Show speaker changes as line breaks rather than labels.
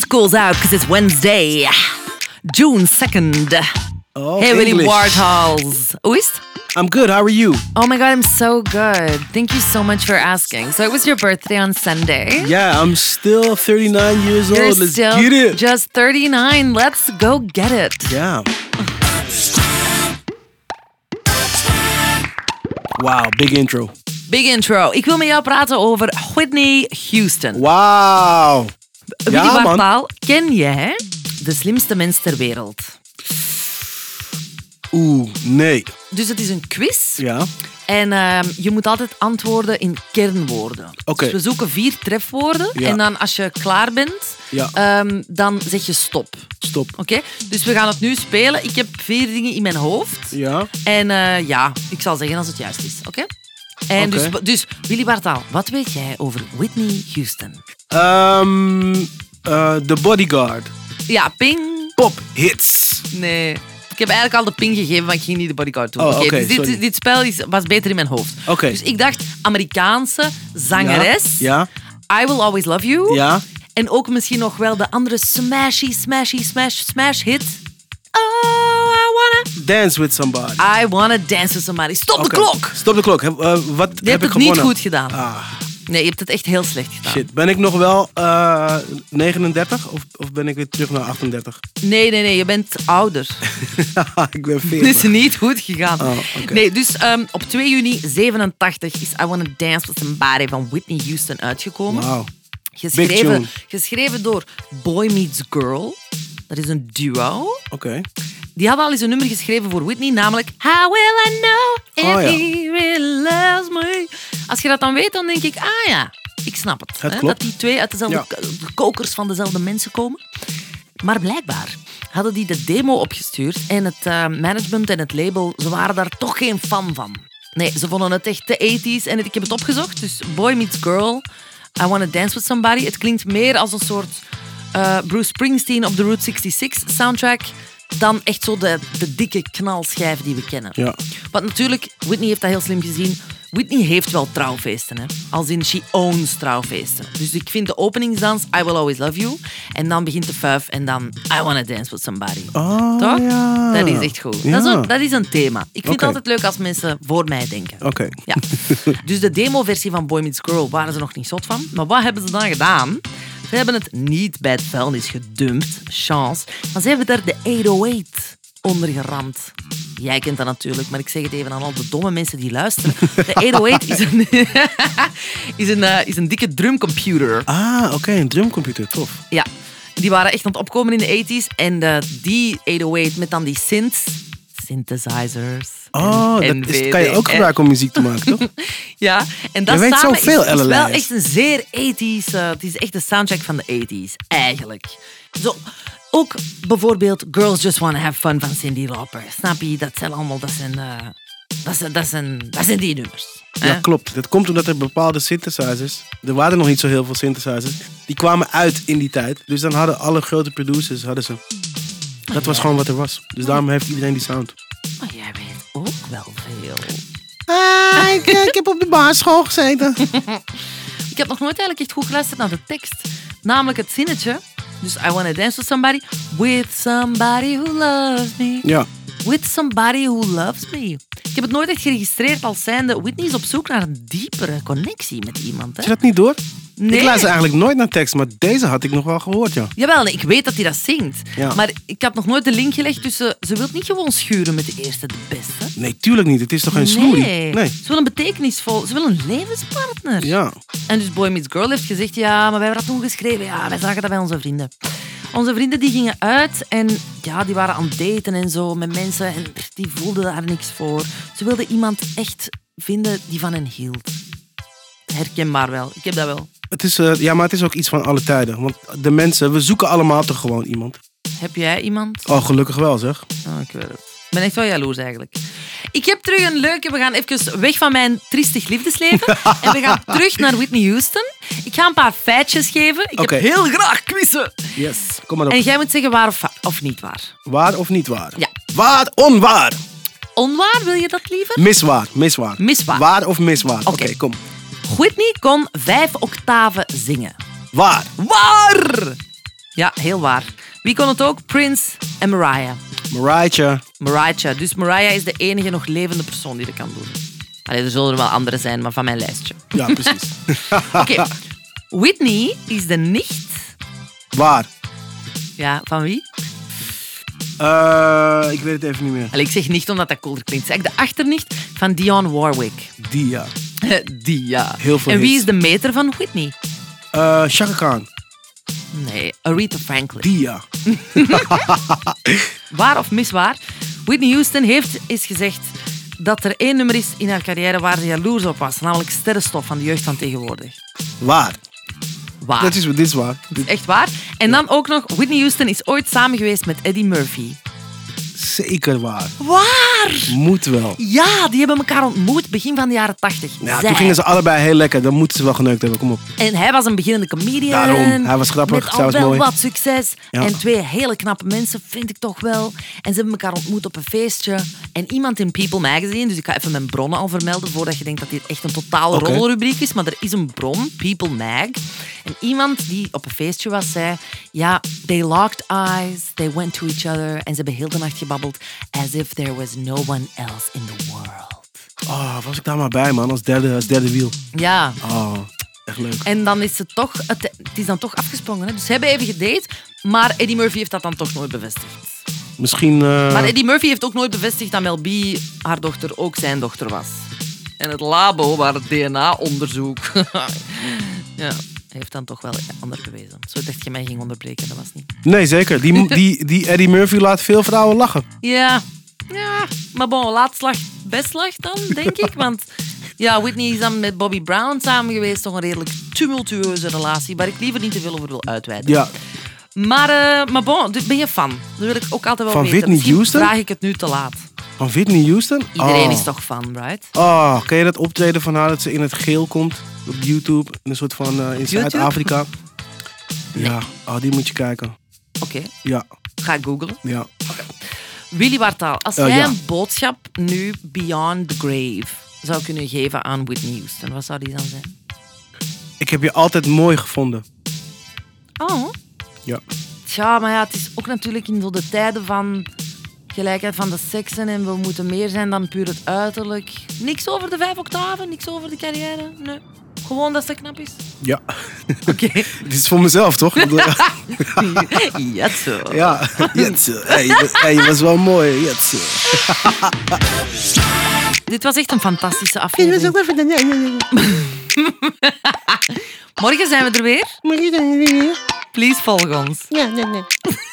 school's out because it's Wednesday, June 2nd.
Oh,
hey, Willie
English.
Warthols. Oist?
I'm good. How are you?
Oh my God, I'm so good. Thank you so much for asking. So it was your birthday on Sunday.
Yeah, I'm still 39 years
You're
old. Let's
still
get it.
just 39. Let's go get it.
yeah. Wow, big intro.
Big intro. Ik wil met jou praten over Whitney Houston.
Wow.
Willy
Ja, man.
Wartaal, ken jij de slimste mens ter wereld?
Oeh, nee.
Dus het is een quiz.
Ja.
En ehm, je moet altijd antwoorden in kernwoorden.
Oké.
Dus we zoeken vier trefwoorden.
Ja.
En dan als je klaar bent,
Ja.
ehm, dan zeg je stop.
Stop.
Oké? Dus we gaan het nu spelen. Ik heb vier dingen in mijn hoofd.
Ja.
En eh, ja, ik zal zeggen als het juist is. Oké? En
Oké.
dus, dus, Willy Bartaal, wat weet jij over Whitney Houston?
Ehm eh, The Bodyguard.
Ja, ping.
Pop hits.
Nee. Ik heb eigenlijk al de ping gegeven, maar ik ging niet de bodyguard doen.
Oh,
Oké,
oké,
dus dit,
sorry.
dit spel is, was beter in mijn hoofd.
Oké.
Dus ik dacht, Amerikaanse zangeres.
Ja.
I Will Always Love You.
Ja.
En ook misschien nog wel de andere smashy, smashy, smash, smash hit. Oh, I wanna...
Dance with somebody.
I wanna dance with somebody. Stop
Oké.
de klok!
Stop de klok. Heb, eh, wat
Je
heb
hebt het
ik
niet
gewonnen?
goed gedaan.
Ah.
Nee, je hebt het echt heel slecht gedaan.
Shit, ben ik nog wel eh, 39 of, of ben ik weer terug naar 38?
Nee, nee, nee, je bent ouder.
ik ben
Het is
40.
niet goed gegaan.
Oh, oké.
Nee, dus ehm, op 2 juni 87 is I Wanna Dance With Somebody van Whitney Houston uitgekomen.
Wauw.
Geschreven,
tune.
geschreven door Boy Meets Girl. Dat is een duo.
Oké.
Die hadden al eens een nummer geschreven voor Whitney, namelijk How Will I Know If
Oh, ja.
He Really Loves Me. Als je dat dan weet, dan denk ik, ah ja, ik snap het.
Het
hè,
klopt.
Dat die twee uit dezelfde
Ja.
k- de kokers van dezelfde mensen komen. Maar blijkbaar hadden die de demo opgestuurd en het eh, management en het label, ze waren daar toch geen fan van. Nee, ze vonden het echt de 80s en het- ik heb het opgezocht. Dus Boy Meets Girl, I Wanna Dance With Somebody. Het klinkt meer als een soort eh, Bruce Springsteen op de Route 66 soundtrack dan echt zo de, de dikke knalschijf die we kennen.
Ja.
Want natuurlijk, Whitney heeft dat heel slim gezien. Whitney heeft wel trouwfeesten, hè. Als in, she owns trouwfesten. Dus ik vind de openingsdans, I Will Always Love You. En dan begint de fuif en dan, I Wanna Dance With Somebody.
Oh,
Toch?
ja.
Dat is echt goed.
Ja.
Dat, is een, dat is een thema. Ik vind
Oké.
het altijd leuk als mensen voor mij denken.
Oké.
Ja. Dus de demoversie van Boy Meets Girl waren ze nog niet zot van. Maar wat hebben ze dan gedaan? Ze hebben het niet bij het vuilnis gedumpt, chance. Maar ze hebben er de 808 onder geramd. Jij kent dat natuurlijk, maar ik zeg het even aan al de domme mensen die luisteren. De 808 is een, is een, eh, is een dikke drumcomputer.
Ah, oké, een drumcomputer. Tof.
Ja, die waren echt aan het opkomen in de 80s. En eh, die 808 met dan die synths, synthesizers. en-
Oh,
en
dat is, kan je ook
VD.
gebruiken om muziek te maken, toch?
Ja, en dat
Je weet
samen is,
zoveel,
is wel
Ellen-Lijs.
echt een zeer 80s. eh, het is echt de soundtrack van de 80s, eigenlijk. Zo, ook bijvoorbeeld Girls Just Wanna Have Fun van Cindy Lauper. Snap je? Dat zijn allemaal, dat zijn, eh, dat zijn, dat zijn, dat zijn die nummers. hè?
Ja, klopt. Dat komt omdat er bepaalde synthesizers... Er waren nog niet zo heel veel synthesizers. Die kwamen uit in die tijd. Dus dan hadden alle grote producers... Hadden ze. Dat was gewoon wat er was. Dus daarom heeft iedereen die sound.
Maar jij weet ook wel veel.
Ah, ik, ik heb op de basisschool gezeten.
Ik heb nog nooit eigenlijk echt goed geluisterd naar de tekst. Namelijk het zinnetje. Dus I wanna dance with somebody. With somebody who loves me.
Ja.
With Somebody Who Loves Me. Ik heb het nooit echt geregistreerd als zijnde. Whitney is op zoek naar een diepere connectie met iemand.
Had
Hè?
je dat niet door?
Nee.
Ik luister eigenlijk nooit naar tekst, maar deze had ik nog wel gehoord, ja.
Jawel, nee, ik weet dat hij dat zingt.
Ja.
Maar ik had nog nooit de link gelegd tussen... Ze wil niet gewoon schuren met de eerste, de beste.
Nee, tuurlijk niet. Het is toch geen sloerie? Nee.
Ze wil een betekenisvol... Ze wil een levenspartner.
Ja.
En dus Boy Meets Girl heeft gezegd... Ja, maar wij hebben dat toen geschreven. Ja, wij zagen dat bij onze vrienden. Onze vrienden die gingen uit en ja, die waren aan het daten en zo met mensen. En pff, die voelden daar niks voor. Ze wilden iemand echt vinden die van hen hield. Herkenbaar wel. Ik heb dat wel.
Het is, eh, ja, maar het is ook iets van alle tijden. Want de mensen, we zoeken allemaal toch gewoon iemand.
Heb jij iemand?
Oh, gelukkig wel zeg.
Oh, ik weet het. Ik ben echt wel jaloers eigenlijk. Ik heb terug een leuke. We gaan even weg van mijn triestig liefdesleven. en we gaan terug naar Whitney Houston. Ik ga een paar feitjes geven. Ik
Oké.
heb heel graag quizzen.
Yes. Kom maar op.
En jij moet zeggen waar of, wa- of niet waar.
Waar of niet waar?
Ja.
Waar, onwaar.
Onwaar, wil je dat liever?
Miswaar, miswaar.
Miswaar.
Waar of miswaar? Oké,
Oké.
kom.
Whitney kon vijf octaven zingen.
Waar.
Waar! Ja, heel waar. Wie kon het ook? Prince en Mariah.
Mariah.
Mariah. Dus Mariah is de enige nog levende persoon die dat kan doen. Allee, er zullen er wel andere zijn, maar van mijn lijstje.
Ja, precies.
Oké. Whitney is de nicht.
Waar?
Ja, van wie?
Eh, ik weet het even niet meer.
Allee, ik zeg nicht omdat dat cooler klinkt. Zeg ik de achternicht van Dionne Warwick.
Die, ja.
Die, ja.
Heel veel
en wie
hits.
is de meter van Whitney?
Eh, Chaka Khan.
Nee, Aretha Franklin.
Die, ja.
Waar of miswaar? Whitney Houston heeft eens gezegd dat er één nummer is in haar carrière waar ze jaloers op was. Namelijk Sterrenstof van de jeugd van tegenwoordig.
Waar?
Waar.
Dat is, dit is waar. Dit-
Echt waar. En dan ook nog, Whitney Houston is ooit samen geweest met Eddie Murphy.
Zeker waar.
Waar?
Moet wel.
Ja, die hebben elkaar ontmoet begin van de jaren tachtig.
Ja, toen gingen ze allebei heel lekker. Dan moeten ze wel geneukt hebben. Kom op.
En hij was een beginnende comedian.
Daarom. Hij was grappig,
Met
zij
al
was
wel
mooi.
wat succes.
Ja.
En twee hele knappe mensen, vind ik toch wel. En ze hebben elkaar ontmoet op een feestje. En iemand in People Magazine, dus ik ga even mijn bronnen al vermelden, voordat je denkt dat dit echt een totale
Oké.
roddelrubriek is. Maar er is een bron, People Mag. En iemand die op een feestje was, zei... Ja, they locked eyes, they went to each other. En ze hebben heel de nacht gebabbeld. As if there was no one else in the world.
Oh, was ik daar maar bij, man. Als derde, als derde wiel.
Ja,
Oh, echt leuk.
En dan is het toch, het, het is dan toch afgesprongen. Hè? Dus ze hebben even gedate, maar Eddie Murphy heeft dat dan toch nooit bevestigd.
Misschien... eh,
Maar Eddie Murphy heeft ook nooit bevestigd dat Mel B, haar dochter, ook zijn dochter was. En het labo waar het DNA-onderzoek... ja, heeft dan toch wel ander gewezen. Zo dacht je mij ging onderbreken, dat was niet.
Nee, zeker. Die, die, die Eddie Murphy laat veel vrouwen lachen.
Ja, ja. Maar bon, laat slag, best slag dan, denk ik. Want ja, Whitney is dan met Bobby Brown samen geweest. Toch een redelijk tumultueuze relatie, waar ik liever niet te veel over wil uitweiden.
Ja.
Maar, eh, maar bon, dus ben je fan? Dat wil ik ook altijd wel
Van
weten.
Whitney
Misschien
Houston?
vraag ik het nu te laat.
Van Whitney Houston?
Iedereen
Oh.
is toch fan, right?
Oh, ken je dat optreden van haar dat ze in het geel komt op YouTube? In een soort van eh, in
YouTube?
Zuid-Afrika. Ja, oh, die moet je kijken.
Oké,
Ja,
ga googlen.
ja.
Willy Wartaal, als
Eh,
jij
ja.
een boodschap nu beyond the grave zou kunnen geven aan Whitney Houston, wat zou die dan zijn?
Ik heb je altijd mooi gevonden.
Oh,
Ja.
tja, maar ja, het is ook natuurlijk in zo de tijden van gelijkheid van de seksen en we moeten meer zijn dan puur het uiterlijk. Niks over de vijf octaven, niks over de carrière, nee. Gewoon dat ze knap is.
Ja.
Oké.
Dit is voor mezelf, toch? Ik bedoel,
ja, zo.
ja. Jetse. Hey, je- hey, je was wel mooi. Jetse.
Dit was echt een fantastische aflevering.
even... Ja, ja, ja.
Morgen zijn we er weer.
Marie,
Please volg ons.
ja, ja, ja.